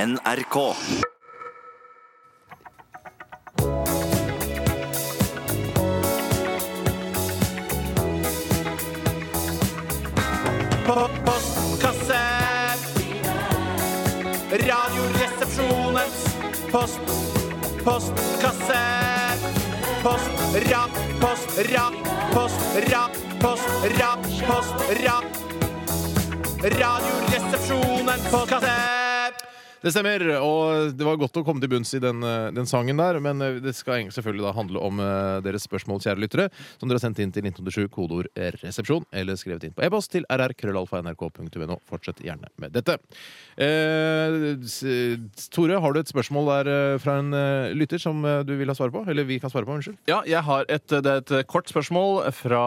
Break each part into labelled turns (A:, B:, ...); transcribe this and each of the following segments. A: NRK.
B: Postkasse Radioresepsjonens Post Postkasse Post Rap Post Rap Post Rap Post Rap Post Rap Radioresepsjonens postkasse
C: Det stemmer, og det var godt å komme til bunns i den, eh, den sangen der. Men eh, det skal egentlig selvfølgelig da handle om eh, deres spørsmål, kjære lyttere, som dere har sendt inn til 1987, kodeord 'resepsjon', eller skrevet inn på e-post til rrkrøllalfa.nrk.no. Fortsett gjerne med dette. Eh, s- Tore, har du et spørsmål der eh, fra en eh, lytter som eh, du vil ha svar på? Eller vi kan svare på, unnskyld.
D: Ja, jeg har et, det er et kort spørsmål fra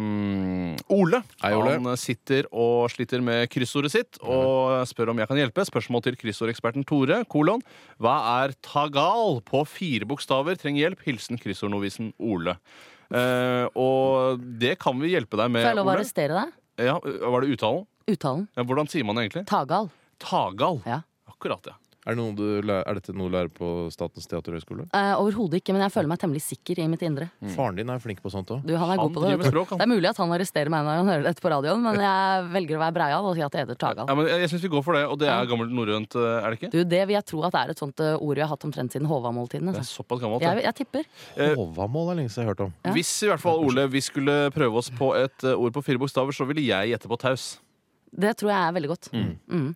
D: um, Ole.
C: Hei, Ole. Mhm.
D: Han sitter og sliter med kryssordet sitt og spør om jeg kan hjelpe. Spørsmål til kryssordeksperten Tore. Kolon. Hva er tagal på fire bokstaver? Trenger hjelp. Hilsen kryssordnovisen Ole. Eh, og det kan vi hjelpe deg med,
E: Får jeg lov å
D: Eh, Ole.
E: arrestere deg?
D: Ja, var det uttalen?
E: Uttalen.
D: Ja, hvordan sier man det egentlig?
E: Tagal.
D: Tagal.
E: Ja.
D: Akkurat, ja.
C: Er, det noe du, læ- er dette noe du lærer på Statens teaterhøgskole?
E: Eh, Overhodet ikke, men jeg føler meg temmelig sikker i mitt indre.
C: Mm. Faren din er flink på sånt òg.
E: Du, han er
D: Han
E: god på det.
D: driver med
E: vet du.
D: språk, han.
E: Det er mulig at han arresterer meg når han hører dette på radioen, men jeg velger å være breial og si at det heter Tagal.
D: ja men jeg jeg syns vi går for det, og det er gammelt norrønt, eh, er det ikke?
E: Du, det vil jeg tro at det er et sånt eh, ord vi har hatt omtrent siden Håvamåltidene.
D: Det er
E: altså.
D: såpass gammelt. ja.
E: Jeg, jeg tipper.
D: Eh,
C: Håvamål er lenge siden jeg har hørt om.
E: Ja.
D: Hvis i hvert fall Ole, vi skulle prøve oss på et eh, ord på fire bokstaver, så ville jeg gjette på taus.
E: Det tror jeg er veldig godt. Mm.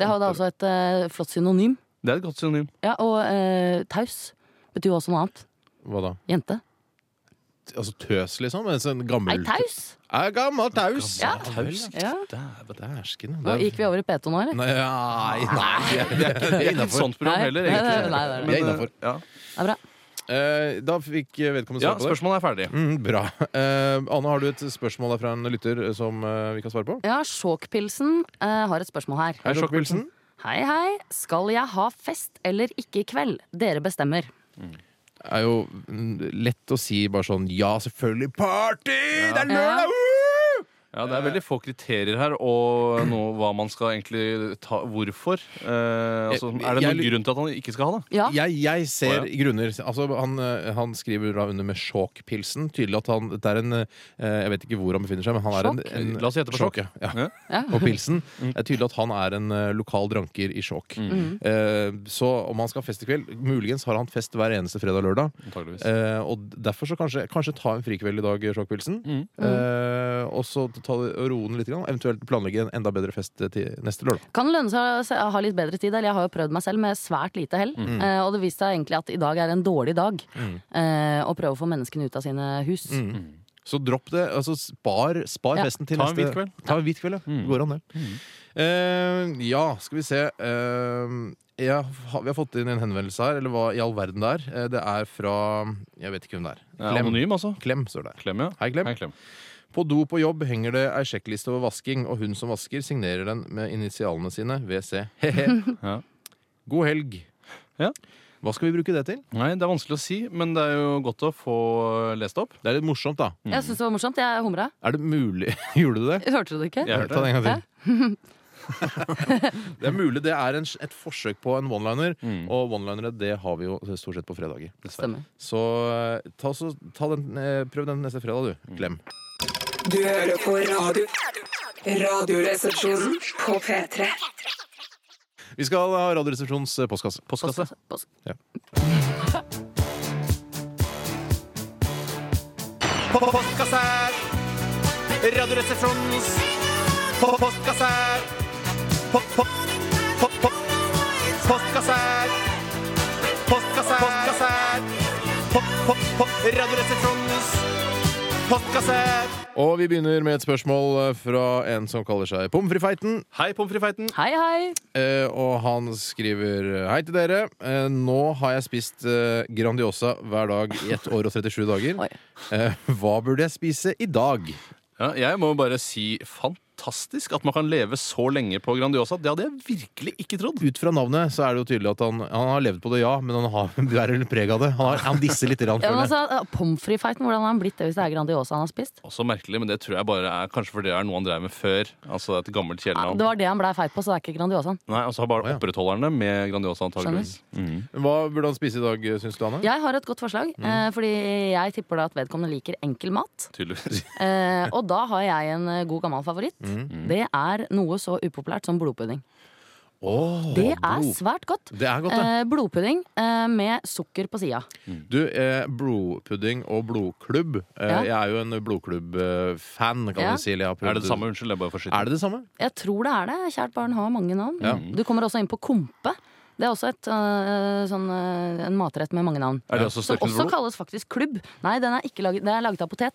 E: Det har jo da også et eh, flott synonym.
D: Det er et godt synonym.
E: Ja, Og eh, taus betyr jo også noe annet.
C: Hva da?
E: Jente.
C: Altså tøs, liksom? En sånn gammel
E: Ei, taus!
C: Er gammel taus.
E: Ja.
D: Taus?
E: Ja.
C: Dæsken.
E: Nå gikk vi over i P2 nå, eller?
C: Nei, nei.
D: Det er ikke det er ikke et sånt program
E: Nei.
D: heller,
E: Nei,
D: egentlig.
E: nei, nei, nei, nei.
C: Vi er innenfor.
D: eh, Ja.
E: Det er bra.
C: Eh, Da fikk vedkommende
D: ja,
C: svar på det.
D: spørsmålet er ferdig.
C: Mm, bra. Eh, Anne, har du et spørsmål der fra en lytter eh, som eh, vi kan svare på?
E: Ja, Sjåkpilsen eh, har et spørsmål her.
D: Hei, Sjokkbilsen.
E: Hei, hei. Skal jeg ha fest eller ikke i kveld? Dere bestemmer.
C: Det er jo mm, lett å si bare sånn ja, selvfølgelig, party! Det er
E: Ja.
C: lørdag! woo!
D: Ja, det er veldig få kriterier her, og noe, hva man skal egentlig ta Hvorfor? Eh, altså, er
C: Jeg-
D: det noen
C: jeg-
D: grunn til at han ikke skal ha det?
E: Ja.
C: Jeg, jeg ser
D: Å,
C: grunner altså, han, eh, han skriver da under med sjåkpilsen. Tydelig at han dette er en eh, Jeg vet ikke hvor han befinner seg, men han er en, en
D: La oss gjette på sjokk.
C: ja. Ja.
D: Ja. Mm.
E: Ja.
C: og pilsen. Det er tydelig at han er en eh, lokal dranker i Skjåk.
E: Mm.
C: Eh, så om han skal ha fest i kveld Muligens har han fest hver eneste fredag og lørdag.
D: Antageligvis.
C: Eh, og derfor så kanskje, kanskje ta en frikveld i dag, Skjåk-pilsen.
D: Mm.
E: Mm.
C: Eh, og så ta det og roe den litt, grann. eventuelt planlegge en enda bedre fest til neste lørdag.
E: Kan det lønne seg å se- ha litt bedre tid. Eller jeg har jo prøvd meg selv med svært lite hell. Eh, og det viste seg egentlig at i dag er en dårlig dag eh, å prøve å få menneskene ut av sine hus.
C: Så dropp det. altså Spar, spar
E: Ja.
C: festen til
D: Ta en
C: neste
D: hvit kveld. Mm.
C: Ta en hvit kveld, ja. Går an, det. Eh, ja, skal vi se. Eh, jeg, har- vi har fått inn en henvendelse her, eller hva i all verden det er. Eh, det er fra Jeg vet ikke hvem det er.
D: Det er Anonym, altså.
C: Klem står det. her.
D: Klem, ja.
C: Hei, Klem.
D: Hei, Klem.
C: På do på jobb henger det ei sjekkliste over vasking, og hun som vasker, signerer den med initialene sine, WC. Hehe.
D: Ja.
C: God helg.
D: Ja.
C: Hva skal vi bruke det til?
D: Nei, det er vanskelig å si, men det er jo godt å få lest opp.
C: Det er litt morsomt, da.
E: Jeg syns det var morsomt. Jeg humra.
C: Er det mulig Gjorde du det?
E: Hørte du det ikke?
D: Jeg hørte
C: Ta det
D: det.
C: en gang til. det er mulig det er en, et forsøk på en one-liner,
D: Mm.
C: og one-linere det har vi jo stort sett på fredager.
E: Stemmer.
C: Så eh, ta, så, ta den, eh, prøv den neste fredag,
D: Mm.
C: du. Klem.
F: Du hører på radio. Radioresepsjonen på P3.
C: Vi skal ha Radioresepsjonens eh, postkasse.
D: Postkasse.
E: Post-
B: På postkasse Radioresepsjonens På postkasse På på på på Postkasse Postkasse Postkasse På på på Radioresepsjonens Postkasse
C: Og vi begynner med et spørsmål eh, fra en som kaller seg Pomfrifeiten.
D: Hei, pommes frites-feiten.
E: Hei, hei.
C: Eh, og han skriver Hei til dere. Eh, nå har jeg spist eh, Grandiosa hver dag i 1 år og 37 dager.
E: Oi.
C: Eh, hva burde jeg spise i dag?
D: Ja, jeg må bare si fantastisk. fantastisk at man kan leve så lenge på Grandiosa. Det hadde jeg virkelig ikke trodd.
C: Ut fra navnet så er det jo tydelig at han, han har levd på det, ja, men han har bærer litt preg av det. Han, har, han disser litt. Rann,
E: Ja, men altså, Pommes frites-fighten, hvordan har han blitt det hvis det er Grandiosa han har spist?
D: Også merkelig, men det tror jeg bare er kanskje fordi det er noe han drev med før. Altså et gammelt
E: Ja,
D: kjælenavn.
E: Ah, det var det han blei feit på, så det er ikke Grandiosaen.
D: Nei, altså bare
C: ja.
D: opprettholderne med Grandiosa antageligvis. Mhm.
E: altså-
C: Hva burde han spise i dag, eh, syns du, Anne?
E: Jeg har et godt forslag,
C: Mm.
E: eh, fordi jeg tipper da at vedkommende liker enkel mat.
D: Tydeligvis.
E: Eh, og da har jeg en eh, god gammel favoritt.
C: Mm.
E: Det er noe så upopulært som blodpudding.
C: Åh,
E: Det er
C: blod.
E: svært godt.
C: det er godt, det.
E: Eh, blodpudding eh, med sukker på sida.
C: Du, eh, blodpudding og blodklubb. Eh,
E: Ja.
C: Jeg er jo en blodklubb-fan, kan
E: Ja.
C: man si. Eller jeg har prøvd-
D: Er det det samme? Unnskyld, jeg bare får
C: Er det det samme?
E: Jeg tror det er det. Kjært barn har mange navn.
C: Ja.
E: Du kommer også inn på kompe. Det er også et, eh, sånn, eh, en matrett med mange navn.
D: Er det også
E: Som
D: støkt med
E: også
D: blod?
E: kalles faktisk klubb. Nei, den er ikke laget, det er laget av potet.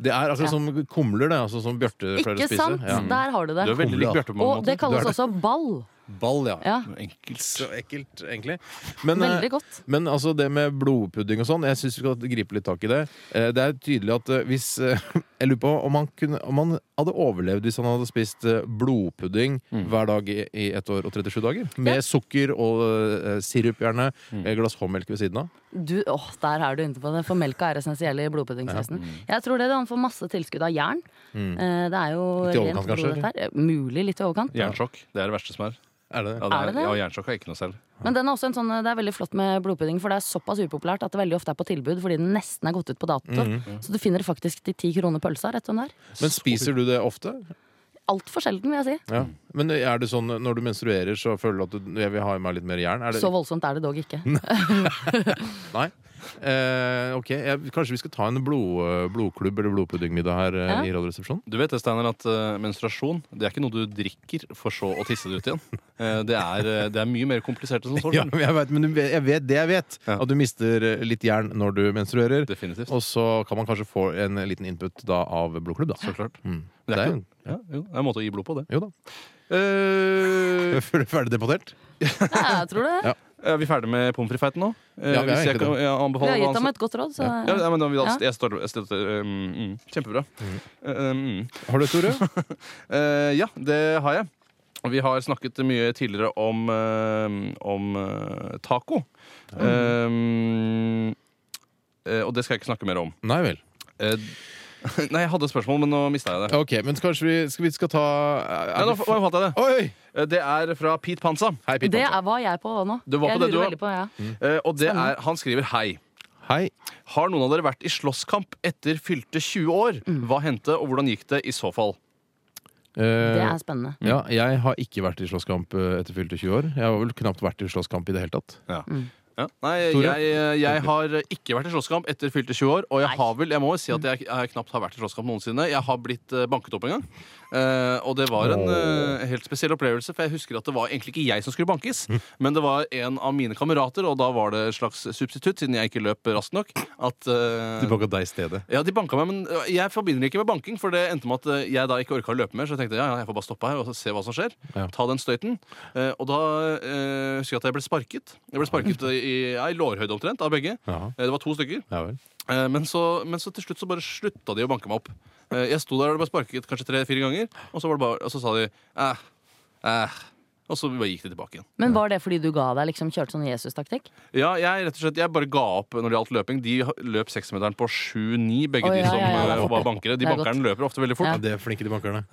C: Det er akkurat
E: Ja.
C: som kumler, det. Altså som Bjarte pleier å
E: Ikke
C: spise.
E: sant?
C: Ja.
E: Der har du det.
D: Du er veldig lik Bjarte på mange
E: Og det
D: måter.
E: kalles også ball.
C: Ball, ja.
E: Ja,
D: Enkelt.
C: Så ekkelt, egentlig. Men, eh,
E: Veldig godt.
C: Men altså det med blodpudding og sånn, jeg syns vi skal gripe litt tak i det. Eh, Det er tydelig at eh, hvis eh, Jeg lurer på om han, kunne, om han hadde overlevd hvis han hadde spist eh, blodpudding
E: Mm.
C: hver dag i, i ett år og 37 dager. Med sukker og eh, sirup, gjerne.
E: Mm.
C: Et glass håndmelk ved siden av.
E: Du, åh, der er du inne på det, for melka er essensiell i blodpuddingsvesenet. Jeg tror det, det, Han får masse tilskudd av jern. Eh, Det er jo
C: Litt i overkant,
E: rent blod,
C: kanskje,
E: dette her. Eh, Mulig litt i overkant.
D: Jernsjokk. Det er det verste som er.
C: Er det det?
D: Ja,
E: Er det det?
D: Ja, jernsjokk er ikke noe selv.
E: Men den er også en sånn, det er veldig flott med blodpudding, for det er såpass upopulært at det veldig ofte er på tilbud fordi den nesten er gått ut på dato. Så du finner faktisk de ti kroner pølsa rett om der.
C: Men spiser du det ofte?
E: Altfor sjelden, vil jeg si.
C: Ja. Men er det sånn når du menstruerer, så føler du at du jeg vil ha i meg litt mer jern? Er det,
E: Så voldsomt er det dog ikke.
C: Nei. Eh, ok, jeg, Kanskje vi skal ta en blod, eh, blodklubb eller blodpuddingmiddag her eh,
E: Ja.
C: i Radioresepsjonen?
D: Du vet det, Steiner, at eh, menstruasjon det er ikke noe du drikker for så å tisse det ut igjen. Eh, det, er, eh, det er mye mer komplisert enn som så.
C: Ja, men jeg vet, men du vet- jeg vet det jeg vet,
D: Ja.
C: at du mister eh, litt jern når du menstruerer.
D: Definitivt.
C: Og så kan man kanskje få en liten input da av blodklubb, da.
D: Så klart.
C: Mm.
D: Men det er ikke,
C: jo-
D: ja, jo, det er en måte å gi blod på, det.
C: Jo da.
D: Eh,
C: Fer- Ferdig debattert?
E: Ja, jeg tror det.
C: Ja.
D: er vi ferdige med pommes frites-feiten nå? Eh,
C: Ja, vi er
D: hvis jeg
C: egentlig
D: kan ja,
E: Vi
D: anbefale
E: har
D: hva
E: gitt
D: han-
E: ham et godt råd, så
D: ja, ja, men da, vi, da-
E: Ja.
D: Jeg støtter, jeg støtter eh, mm, mm, Kjempebra. Eh, mm.
C: Har du et ord?
D: Eh, ja, det har jeg. Og Vi har snakket mye tidligere om, eh, om eh, taco. Eh, eh, og det skal jeg ikke snakke mer om.
C: Nei vel.
D: Eh, nei, jeg hadde et spørsmål, men nå mista jeg det.
C: Ok, men kanskje vi skal, vi skal ta
D: Nei,
C: er det
D: nå
C: f-
D: f- nå fant jeg det.
C: Oi!
D: Eh, Det er fra Pete Panza.
C: Hei, Pete
E: det
C: Panser.
E: er, var jeg på nå.
D: Du var på
E: jeg
D: det, du også.
E: lurer veldig på, ja.
D: Eh, Og det er, han skriver hei.
C: Hei. Eh,
D: Har noen av dere vært i slåsskamp etter fylte 20 år? Hva hendte, og hvordan gikk det i så fall?
C: Eh,
E: Det er spennende.
C: ja, jeg har ikke vært i slåsskamp eh, etter fylte 20 år. Jeg har vel knapt vært i slåsskamp i det hele tatt.
D: Ja. Nei,
C: Tore?
D: jeg, jeg har ikke vært i slåsskamp etter fylte 20 år. Og jeg har vel, jeg må jo si at jeg, jeg knapt har vært i slåsskamp noensinne. Jeg har blitt eh, banket opp en gang. Eh, og det var en
C: Åh.
D: eh, helt spesiell opplevelse, for jeg husker at det var egentlig ikke jeg som skulle bankes, men det var en av mine kamerater, og da var det et slags substitutt, siden jeg ikke løp raskt nok. At eh,
C: Du banka deg i stedet.
D: ja, de banka meg, men øh, jeg forbinder ikke med banking. For det endte med at øh, jeg da ikke orka å løpe mer. Så jeg tenkte ja, ja, jeg får bare stoppe her og se hva som skjer.
C: Ja.
D: Ta den støyten. Eh, og da øh, husker jeg at jeg ble sparket. Jeg ble sparket øh, i, ja, i lårhøyde omtrent av begge.
C: Ja.
D: Eh, det var to stykker.
C: Ja vel.
D: Eh, men, så, men så til slutt så bare slutta de å banke meg opp. Eh, jeg sto der og det ble sparket kanskje tre-fire ganger, og så, var det bare, og så sa de æh, æh. Og så bare gikk de tilbake igjen.
E: Men var det fordi du ga deg liksom kjørte sånn Jesus-taktikk?
D: Ja, jeg rett og slett, jeg bare ga opp når det gjaldt løping. De løp seksmeteren på 7-9, begge
E: Å, ja,
D: de som
E: ja, ja, det er
D: øh,
E: fort,
D: var bankere. De
E: Det er godt.
D: bankerne løper ofte veldig fort.
E: Ja.
C: Det er flinke de bankerne.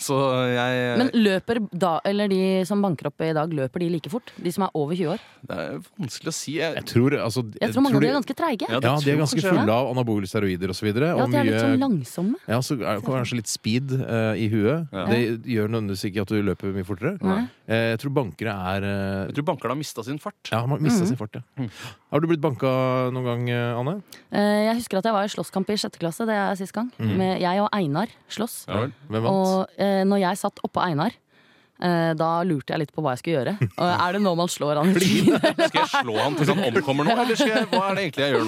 D: Så jeg
E: Men løper da, eller de som banker opp i dag, løper de like fort? De som er over 20 år?
D: Det er vanskelig å si. Jeg,
C: Jeg tror, altså,
E: Jeg tror mange av
C: de-
E: de er ganske treige.
D: Ja,
E: Ja,
D: det
C: Ja, de er
D: tror
C: ganske
D: kanskje jeg.
C: fulle av anabole steroider og så videre. og
E: de er litt
C: mye-
E: sånn langsomme.
C: Ja, så er det kanskje litt speed eh, i huet.
D: Ja.
C: Det gjør nødvendigvis ikke at du løper mye fortere.
E: Nei.
C: Eh, jeg tror bankere er eh,
D: jeg tror bankerne har mista sin fart.
C: Ja, man
E: Mm.
C: mista sin fart, ja. Har du blitt banka noen gang, eh, Anne?
E: Eh, Jeg husker at jeg var i slåsskamp i sjette klasse. Det er sist gang. Med jeg og Einar slåss.
C: Hvem vant?
E: Og eh, når jeg satt oppå Einar, eh, da lurte jeg litt på hva jeg skulle gjøre. Og er det nå man slår han i trynet?
D: Skal jeg slå han til han omkommer nå, eller skal jeg, hva er det egentlig jeg gjør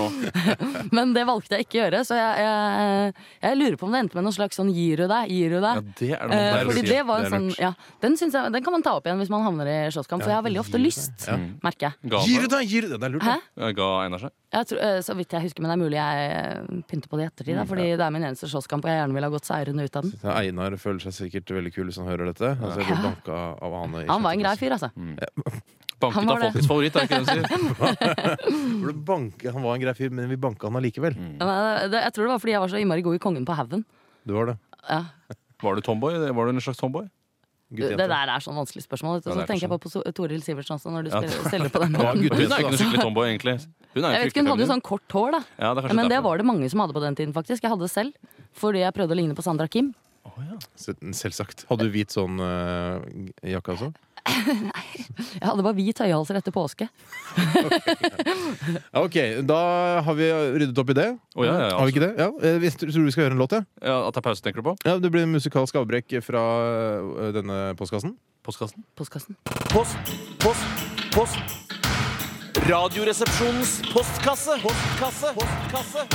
D: nå?
E: Men det valgte jeg ikke å gjøre, så jeg, jeg, eh, jeg lurer på om det endte med noe slags sånn gir du deg, gir du
D: Ja,
E: deg.
D: det er det man
E: Eh,
D: pleier å
E: fordi
D: si.
E: det var en
C: Det er
E: sånn,
C: lurt.
E: ja, den, synes jeg, den kan man ta opp igjen hvis man havner i slåsskamp, for jeg har veldig ofte lyst, merker jeg.
D: Ga, han
C: Gir du
D: seg?
C: deg! Gir du deg! Det er lurt.
E: Hæ?
C: da.
D: Ja, Ga Einar seg?
E: Jeg tror, eh, så vidt jeg husker, men det er mulig jeg eh, pynter på det i ettertid.
D: Mm,
E: Da, fordi det er min eneste slåsskamp, og jeg gjerne ville ha gått seirende ut av den.
C: Ja, Einar føler seg sikkert veldig kul hvis han hører dette. Altså, jeg ble
E: Ja.
C: banka av han i
E: Han var en grei
C: sjette
E: fyr, altså.
D: Mm.
E: Han
D: Banket
E: var
D: av
E: det.
D: folkets favoritt, er ikke det hun sier?
C: klasse. Ble banke- Han var en grei fyr, men vi banka han allikevel.
E: Men, eh, det, jeg tror det var fordi jeg var så innmari god i Kongen på haugen.
C: Du var det.
E: Ja.
D: Var du tomboy? Var du en slags tomboy?
E: Det
C: Guttejente.
E: der er sånn vanskelig spørsmål. Vet du.
D: Ja,
E: Så
D: det er
E: tenker jeg
D: kanskje
E: på, på Toril Sivertsen også, når du
D: Ja,
E: stiller, stiller på den
C: Ja,
E: måten.
C: gutt-
D: Hun er ikke noen skikkelig tomboy, egentlig. Hun er
E: Jeg
D: jo
E: vet ikke, Hun hadde jo
D: fryktelig
E: sånn kort hår, da.
D: feminin. Ja, det er
E: Ja,
D: kanskje
E: men det
D: derfor.
E: var det mange som hadde på den tiden, faktisk. Jeg hadde det selv. Fordi jeg prøvde å ligne på Sandra Kim.
C: Sel- Selvsagt. Hadde du hvit sånn eh, jakke også?
E: Jeg hadde bare hvit høyhalser etter påske.
C: Ja, ok, da har vi ryddet opp i det.
D: Å, ja, ja, ja,
C: har vi ikke det? Ja, eh, vi tror tror vi skal høre en låt, ja.
D: Ja, at det er pause, tenker du på?
C: ja. Det blir en musikalsk avbrekk fra eh, denne postkassen.
D: Postkassen?
E: Postkassen.
B: Post, post, post. Radioresepsjonens postkasse. Postkasse. Postkasse.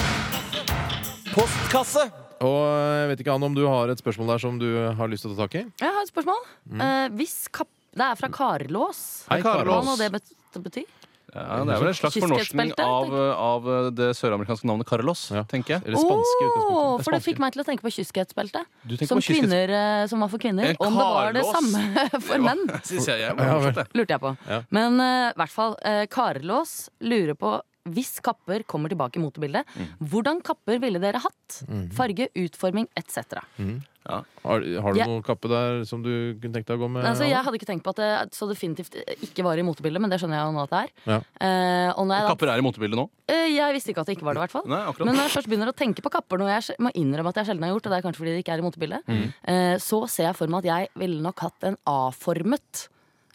B: Postkasse.
C: Og eh, jeg vet ikke, Anne, om du har et spørsmål der som du har lyst til å ta tak i?
E: Jeg har et spørsmål. Eh, hvis kapp... Det er fra Karlås.
D: Hei,
E: Hva
D: Mm. Karlås.
E: må det bet- bety?
D: Ja, det er vel en slags fornorskning
E: Kyskhetsbelte,
D: av, av det søramerikanske navnet Carlos,
C: Ja.
D: tenker jeg.
C: Eller spanske i utgangspunktet.
E: Åh, for det
D: Spanske.
E: fikk meg til å tenke på kyskhetsbelte.
D: Du tenker
E: Som
D: på kyskhet-
E: kvinner eh, som var for kvinner.
D: En
E: Om det var det
D: Karlås.
E: samme for menn,
D: Synes jeg, jeg var
C: Ja, vel.
D: morsomt, det.
E: lurte jeg på.
C: Ja.
E: Men eh, i hvert fall, eh, Karlås lurer på hvis kapper kommer tilbake i motebildet, hvordan kapper ville dere hatt? Farge, utforming etc.
C: Har, har du
E: Jeg-
C: noe kappe der som du kunne tenkt deg å gå med?
E: Altså, jeg
C: Anne?
E: hadde ikke tenkt på at det så definitivt eh, ikke var i motebildet, men det skjønner jeg jo nå at det er.
C: Ja.
E: Eh, og når jeg, da,
D: Kapper er i motebildet nå.
E: eh, jeg visste ikke at det ikke var det, i hvert fall.
D: Nei, akkurat.
E: Men når jeg først begynner å tenke på kapper, noe jeg sj- må innrømme at jeg sjelden har gjort, og det er kanskje fordi det ikke er i motebildet, eh, så ser jeg for meg at jeg ville nok hatt en A-formet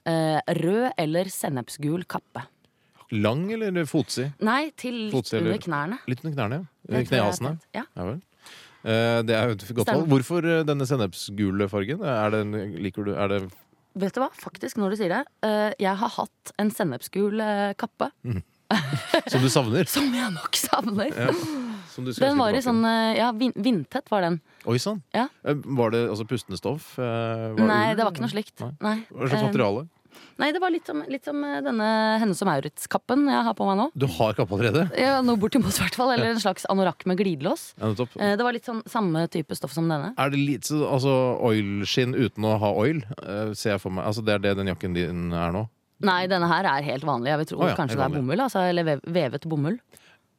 E: eh, rød eller sennepsgul kappe.
C: Lang eller fotsid?
E: Nei, til litt
C: Fotsid eller-
E: under knærne.
C: Litt under knærne. ja.
E: Det tror jeg er
C: Knehasene.
E: pent. Ja.
C: Ja vel. Eh, Det er jo et godt valg.
E: Stemmer.
C: Hvorfor eh, denne sennepsgule fargen? Er det, en- liker du, er det
E: Vet du hva, faktisk, når du sier det, eh, jeg har hatt en sennepsgul eh, kappe
C: som du savner?
E: som jeg nok savner.
C: Som du skulle
E: Den
C: ønske
E: var i
C: tilbake?
E: sånn, eh, ja, vin- vindtett var den.
C: Oi sann.
E: Ja.
C: Eh, Var det altså pustende stoff? Eh, Var
E: Nei, det var ikke noe slikt.
C: Nei.
E: Nei.
C: Hva slags
E: Eh,
C: materiale?
E: Nei, det var litt som, litt som eh, denne Hennes og Maurits-kappen jeg har på meg nå.
C: Du har kappe allerede?
E: Ja, noe bortimot i hvert fall, Eller en slags anorakk med glidelås.
C: Ja, nettopp.
E: Eh, Det var litt sånn samme type stoff som denne.
C: Er det litt så, altså oilskinn uten å ha oil? eh, ser jeg for meg. Altså, det er det den jakken din er nå?
E: Nei, denne her er helt vanlig. Jeg vil tro
C: Å ja,
E: kanskje
C: helt
E: det er
C: vanlig.
E: bomull. Altså, eller vev- vevet bomull.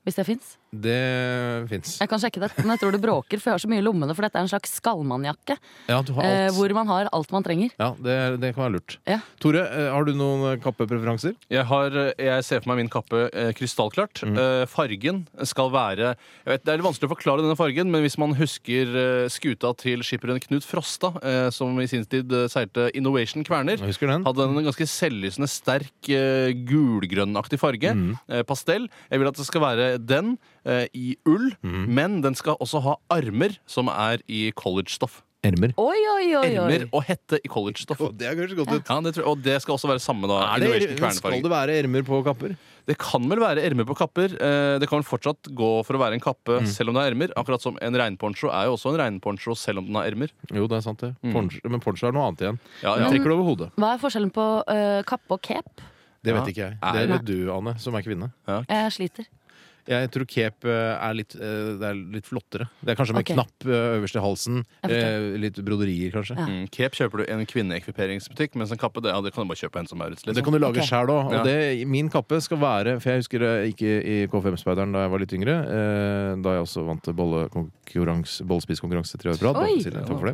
E: Hvis det fins.
C: Det fins.
E: Jeg kan sjekke det, men jeg tror det bråker, for jeg har så mye i lommene. For dette er en slags skallmannjakke,
C: Ja, du har
E: eh,
C: alt.
E: hvor man har alt man trenger.
C: Ja, det, det kan være lurt.
E: Ja.
C: Tore, eh, har du noen kappepreferanser?
D: Jeg, har, jeg ser for meg min kappe eh, krystallklart.
C: Mm.
D: Eh, fargen skal være jeg vet, Det er litt vanskelig å forklare denne fargen, men hvis man husker eh, skuta til skipperen Knut Frosta, eh, som i sin tid eh, seilte Innovation Kverner,
C: Jeg husker den.
D: hadde den en ganske selvlysende sterk eh, gulgrønnaktig farge.
C: Mm.
D: Eh, pastell. Jeg vil at det skal være den eh, i ull,
C: Mm.
D: men den skal også ha armer som er i collegestoff.
C: Ermer.
E: Oi, oi, oi! oi.
D: Ermer og hette i collegestoff.
C: det er kanskje godt ut.
D: Ja, det tror jeg, og det skal også være samme da,
C: Er
D: Innovation
C: det, skal
D: Kverner-fargen.
C: det være ermer på kapper?
D: Det kan vel være ermer på kapper. eh, Det kan vel fortsatt gå for å være en kappe
C: Mm.
D: selv om det er ermer. Akkurat som en regnponcho er jo også en regnponcho selv om den har ermer. Mm.
C: Jo, det er sant, det. Poncho, men poncho er noe annet igjen.
D: Ja,
C: Den
D: ja.
C: trekker du over hodet.
E: Hva er forskjellen på eh, kappe og cape?
C: Det vet
D: Ja.
C: ikke jeg.
D: Nei.
C: Det vet du, Anne, som er kvinne.
E: Jeg sliter.
C: Jeg tror cape eh, er litt, eh, det er litt flottere. Det er kanskje med
E: Ok.
C: knapp eh, øverst i halsen.
E: Jeg forstår.
C: eh, Litt broderier, kanskje.
E: Ja.
D: Mm, Cape kjøper du i en kvinneekviperingsbutikk, mens en kappe det, ja, det kan du bare kjøpe en som Maurits.
C: Det
D: Liksom.
C: kan du lage selv
E: Ok.
C: sjæl òg.
D: Ja.
C: Og det, min kappe skal være For jeg husker jeg gikk i i K5-speideren da jeg var litt yngre. Eh, da jeg også vant bollekonkurranse- bollspiskonkurranse tre år på rad. bare for å si det, takk for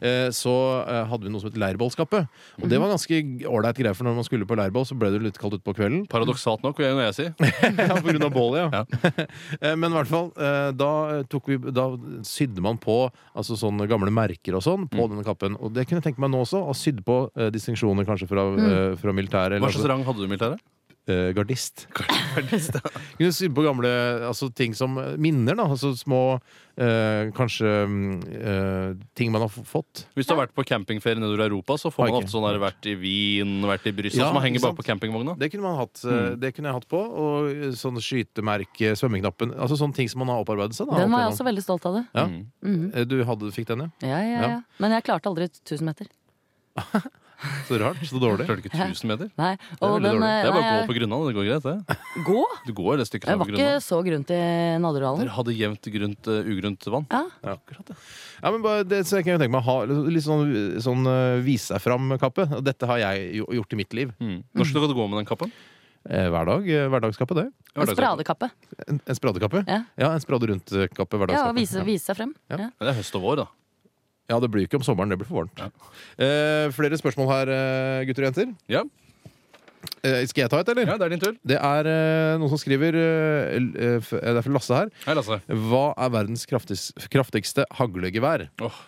C: det. Eh, så eh, hadde vi noe som het leirbålskappe. Og
E: Mhm.
C: det var ganske ålreit greie, for når man skulle på leirbål, så ble det litt kaldt utpå kvelden.
D: Paradoksalt nok, vil jeg, når jeg si.
C: Ja, på grunn av bålet, ja. Eh, Men i hvert fall, eh, da, tok vi, da sydde man på altså sånne gamle merker og sånn på denne kappen. Og det kunne jeg tenke meg nå også, å sydde på eh, distinksjoner kanskje fra,
E: Mm.
C: eh, fra militæret. eller
D: Hva slags
C: altså,
D: rang hadde du i militæret?
C: eh, gardist. Kunne sydd på gamle altså, ting som minner, da. Altså små eh, Kanskje mm, eh, ting man har f- fått.
D: Hvis du har vært på campingferie nedover i Europa, så får
C: Har
D: man
C: ikke.
D: ofte sånn der, vært i Wien, vært i Brussel,
C: Ja,
D: som henger
C: ikke sant?
D: bak på campingvogna.
C: Det kunne, man hatt, eh, det kunne jeg hatt på. Og sånn skytemerke, svømmeknappen. Altså sånne ting som man har opparbeidet seg. Da,
E: Den var jeg
C: opp
E: også veldig stolt av. det
C: Ja.
D: Mm.
E: Mhm.
C: igjennom. Eh, Du hadde, fikk den, ja?
E: Ja, ja,
C: Ja.
E: ja. Men jeg klarte aldri 1000 meter.
C: Så rart. Så dårlig.
D: Klarte du ikke 1000 meter?
E: Nei,
C: er
E: og
C: veldig
E: den,
C: dårlig.
E: eh,
D: Det er bare å
E: nei,
D: gå på Grunnan. Det går greit, det.
E: gå.
D: Du går det sånn. stykket
E: Det
D: sammen
E: var
D: på
E: ikke
D: Grunnan.
E: så grunt i Nadderudhallen.
D: Dere hadde jevnt grunt, eh, ugrunt vann.
E: Ja.
C: Ja, men bare, det, så jeg kan jo tenke meg å ha litt sånn, sånn eh, vise seg fram-kappe. Og Dette har jeg jo gjort i mitt liv.
D: Mm. Når skal du gå med den kappen?
C: Eh, Hver dag. eh, Hverdagskappe, det.
E: En spradekappe.
C: En, en spradekappe.
E: Ja.
C: en sprade rundt-kappe.
E: Ja, og vise,
C: Hverdagskappe. Ja.
E: vise seg frem.
C: Ja.
E: Ja.
D: Ja, Det er høst og vår, da.
C: ja, det blir jo ikke om sommeren. Det blir for varmt. Eh, flere spørsmål her, eh, gutter og jenter.
D: Ja,
C: Eh, skal jeg ta et, eller?
D: ja det er din tur.
C: Det er eh, noen som skriver eh, l- eh, f- eh, Det er fra Lasse her.
D: Hei, Lasse.
C: Hva er verdens kraftis, kraftigste haglegevær?
D: Åh,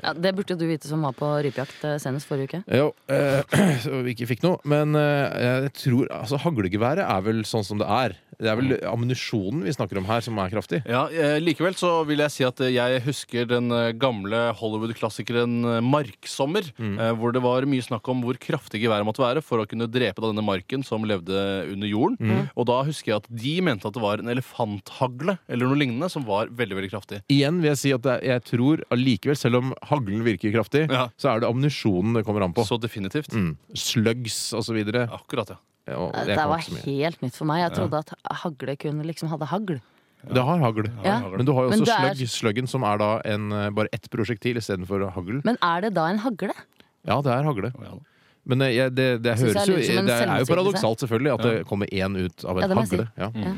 E: Ja, det burde jo du vite som var på rypejakt eh, senest forrige uke.
C: Jo, eh, så vi ikke fikk noe. Men eh, jeg tror altså, Haglegeværet er vel sånn som det er. Det er vel ammunisjonen vi snakker om her, som er kraftig.
D: Ja, eh, Likevel så vil jeg si at eh, jeg husker den eh, gamle Hollywood-klassikeren eh, 'Marksommer', eh, hvor det var mye snakk om hvor kraftig geværet måtte være for å kunne drepe da denne marken som levde under jorden. Og da husker jeg at de mente at det var en elefanthagle eller noe lignende som var veldig veldig kraftig.
C: Igjen vil jeg si at det er, jeg tror allikevel, selv om haglen virker kraftig,
D: Ja.
C: så er det ammunisjonen det kommer an på.
D: Så definitivt.
C: Mm. Slugs og så videre.
D: Akkurat, ja.
C: Ja, og jeg
E: Det
C: kan
E: var
C: ikke så mye.
E: helt nytt for meg. Jeg trodde at hagle kunne liksom hadde hagl.
C: Det har hagl.
E: Ja.
C: Men du har jo
E: Men
C: også
E: det er-
C: slugg, sluggen, som er da en, eh, bare ett prosjektil istedenfor hagl.
E: Men er det da en hagle?
C: Ja, det er hagle.
D: Ja da.
C: Men eh, jeg, det, det,
E: Synes
C: høres
E: jeg
C: jo,
E: lyder som en
C: det er jo
E: selvmotsigelse.
C: paradoksalt, selvfølgelig, at det kommer én ut av en
E: Ja, det må jeg si.
C: hagle. Ja.
E: Ja.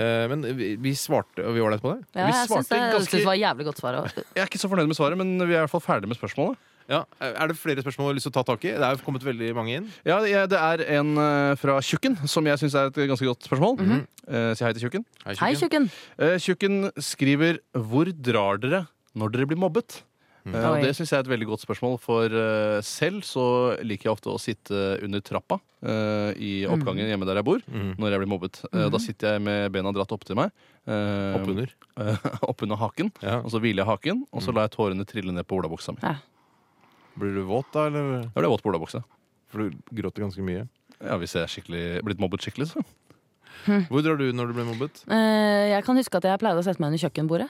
C: Eh, Men vi, vi svarte og Vi var der på det?
E: Ja,
D: Vi
E: jeg syns
D: svarte
E: det, jeg synes
D: ganske-
E: det var jævlig godt svar. også.
D: Jeg er ikke så fornøyd med svaret, men vi er i hvert fall ferdig med spørsmålet.
C: Ja. Er det flere spørsmål du har lyst til å ta tak i? Det er jo kommet veldig mange inn.
D: Ja, jeg- Det er en eh, fra Tjukken som jeg syns er et ganske godt spørsmål. Eh, Si hei til Tjukken.
E: Hei, tjukken!
D: Eh, Tjukken skriver Hvor drar dere når dere blir mobbet?
C: Mm.
D: Eh, og
E: Oi.
D: det syns jeg er et veldig godt spørsmål, for eh, selv så liker jeg ofte å sitte under trappa eh, i oppgangen hjemme der jeg bor,
C: Mm.
D: når jeg blir mobbet. Eh, Da sitter jeg med bena dratt opp til meg. eh,
C: Oppunder.
D: eh, oppunder haken.
C: Mm. Ja.
D: Og så hviler jeg haken, og
C: Mm.
D: så lar jeg tårene trille ned på olabuksa mi.
E: Ja.
C: Blir du våt da, eller?
D: Da blir jeg våt på olabuksa.
C: For du gråter ganske mye.
D: Ja, hvis jeg er skikkelig- blitt mobbet skikkelig, så.
C: Hvor drar du når du blir mobbet?
E: Eh, Jeg kan huske at jeg pleide å sette meg under kjøkkenbordet.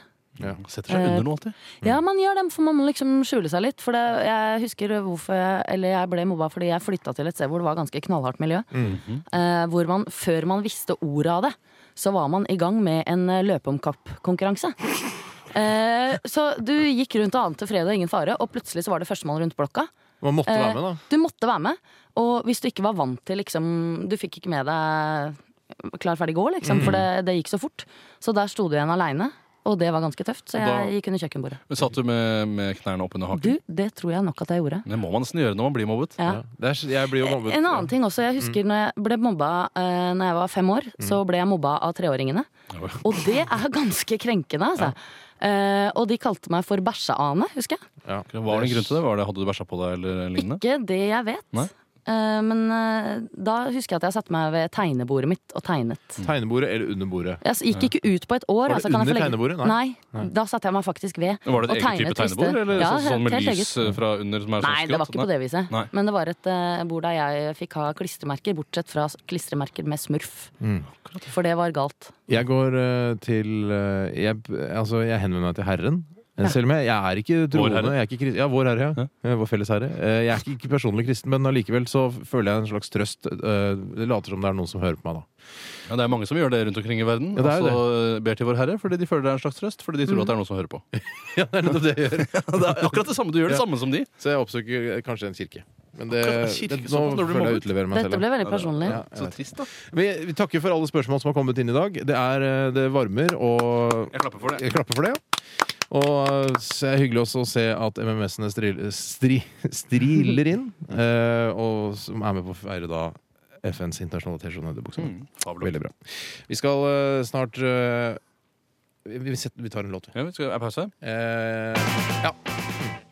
D: Setter seg under noe alltid.
E: Ja, man gjør det, for man må liksom skjule seg litt. For det, jeg husker hvorfor jeg, eller jeg ble mobba fordi jeg flytta til et sted hvor det var ganske knallhardt miljø.
D: Mhm.
E: eh, hvor man, før man visste ordet av det, så var man i gang med en eh, løpeomkapp-konkurranse. Eh, så du gikk rundt og ante fred og ingen fare, og plutselig så var det førstemann rundt blokka.
C: Man måtte
E: Eh,
C: være med, da.
E: Du måtte være med. Og hvis du ikke var vant til liksom Du fikk ikke med deg klar, ferdig, gå, liksom. For
D: Mhm.
E: det, det gikk så fort. Så der sto du igjen aleine. Og det var ganske tøft, så
D: Og da-
E: jeg gikk under kjøkkenbordet.
D: Men Satt du med, Eh, med knærne oppunder haken?
E: Du, det tror jeg nok at jeg gjorde.
D: Det må man nesten gjøre når man blir mobbet.
E: Ja.
C: Ja. Det er, jeg blir jo mobbet.
E: En annen ting også, jeg
D: Mm.
E: husker når jeg ble mobba eh, Når jeg var fem år, så ble jeg mobba av treåringene.
D: Oi.
E: Og det er ganske krenkende, altså. Eh, og de kalte meg for bæsjeane, husker jeg.
C: Ja.
D: Var det en grunn til det? Var det, hadde du bæsja på deg eller lignende?
E: Ikke det jeg vet.
D: Nei.
E: Eh, men eh, da husker jeg at jeg satte meg ved tegnebordet mitt og tegnet.
C: Tegnebordet eller under bordet?
E: Jeg s- gikk ikke ut på et år.
C: Var det
E: altså, kan jeg
C: under
E: få legge-
C: tegnebordet? Nei.
E: Nei. da satte jeg meg faktisk ved.
D: Var det et
E: og
D: eget type
E: tegnet liste.
D: tegnebord? Eller
E: Ja,
D: sånn- sånn med
E: helt eget.
D: lys fra under? Som er sånn
E: Nei, det var
D: skrått?
E: ikke på det viset.
D: Nei.
E: Men det var et eh, bord der jeg fikk ha klistremerker, bortsett fra s- klistremerker med smurf. For det var galt.
C: Jeg går eh, til eh, jeg, altså, jeg henvender meg til Herren. Eh, Selv om jeg, jeg er ikke troende.
D: herre.
C: Jeg er ikke krist, ja, vår herre, ja. Eh, Vår felles herre. Eh, Jeg er ikke, ikke personlig kristen, men allikevel så føler jeg en slags trøst. eh, Det later som det er noen som hører på meg, da.
D: Ja, det er mange som gjør det rundt omkring i verden.
C: Ja, det er jo
D: og så ber til Vår Herre fordi de føler det er en slags trøst. Fordi de tror at det er noen som hører på.
C: Ja, det er nettopp det jeg gjør.
D: det er akkurat det samme. Du gjør det
C: Ja.
D: samme som de.
C: Så jeg oppsøker eh, kanskje en kirke. Men det,
D: Akkurat, kirke,
C: det, nå
D: sånn når du
C: føler jeg
D: mobbet.
C: utleverer meg
E: Dette
C: selv.
E: ble veldig personlig.
C: Ja, jeg
D: Så
C: vet.
D: trist, da.
C: Vi, vi takker for alle spørsmål som har kommet inn i dag. Det, er, eh, det varmer, og
D: Jeg klapper for det.
C: jeg klapper for det. ja. Og eh, så er det hyggelig også å se at MMS-ene stril, stri, striler inn, eh, og som er med på å feire da FNs internasjonale T-skjorte-bukse.
D: Mm. Fabelaktig.
C: Veldig bra. Vi skal eh, snart eh, vi, vi, setter, vi tar en låt, vi.
D: Ja, vi skal, er pause?
C: Eh, ja. Mm.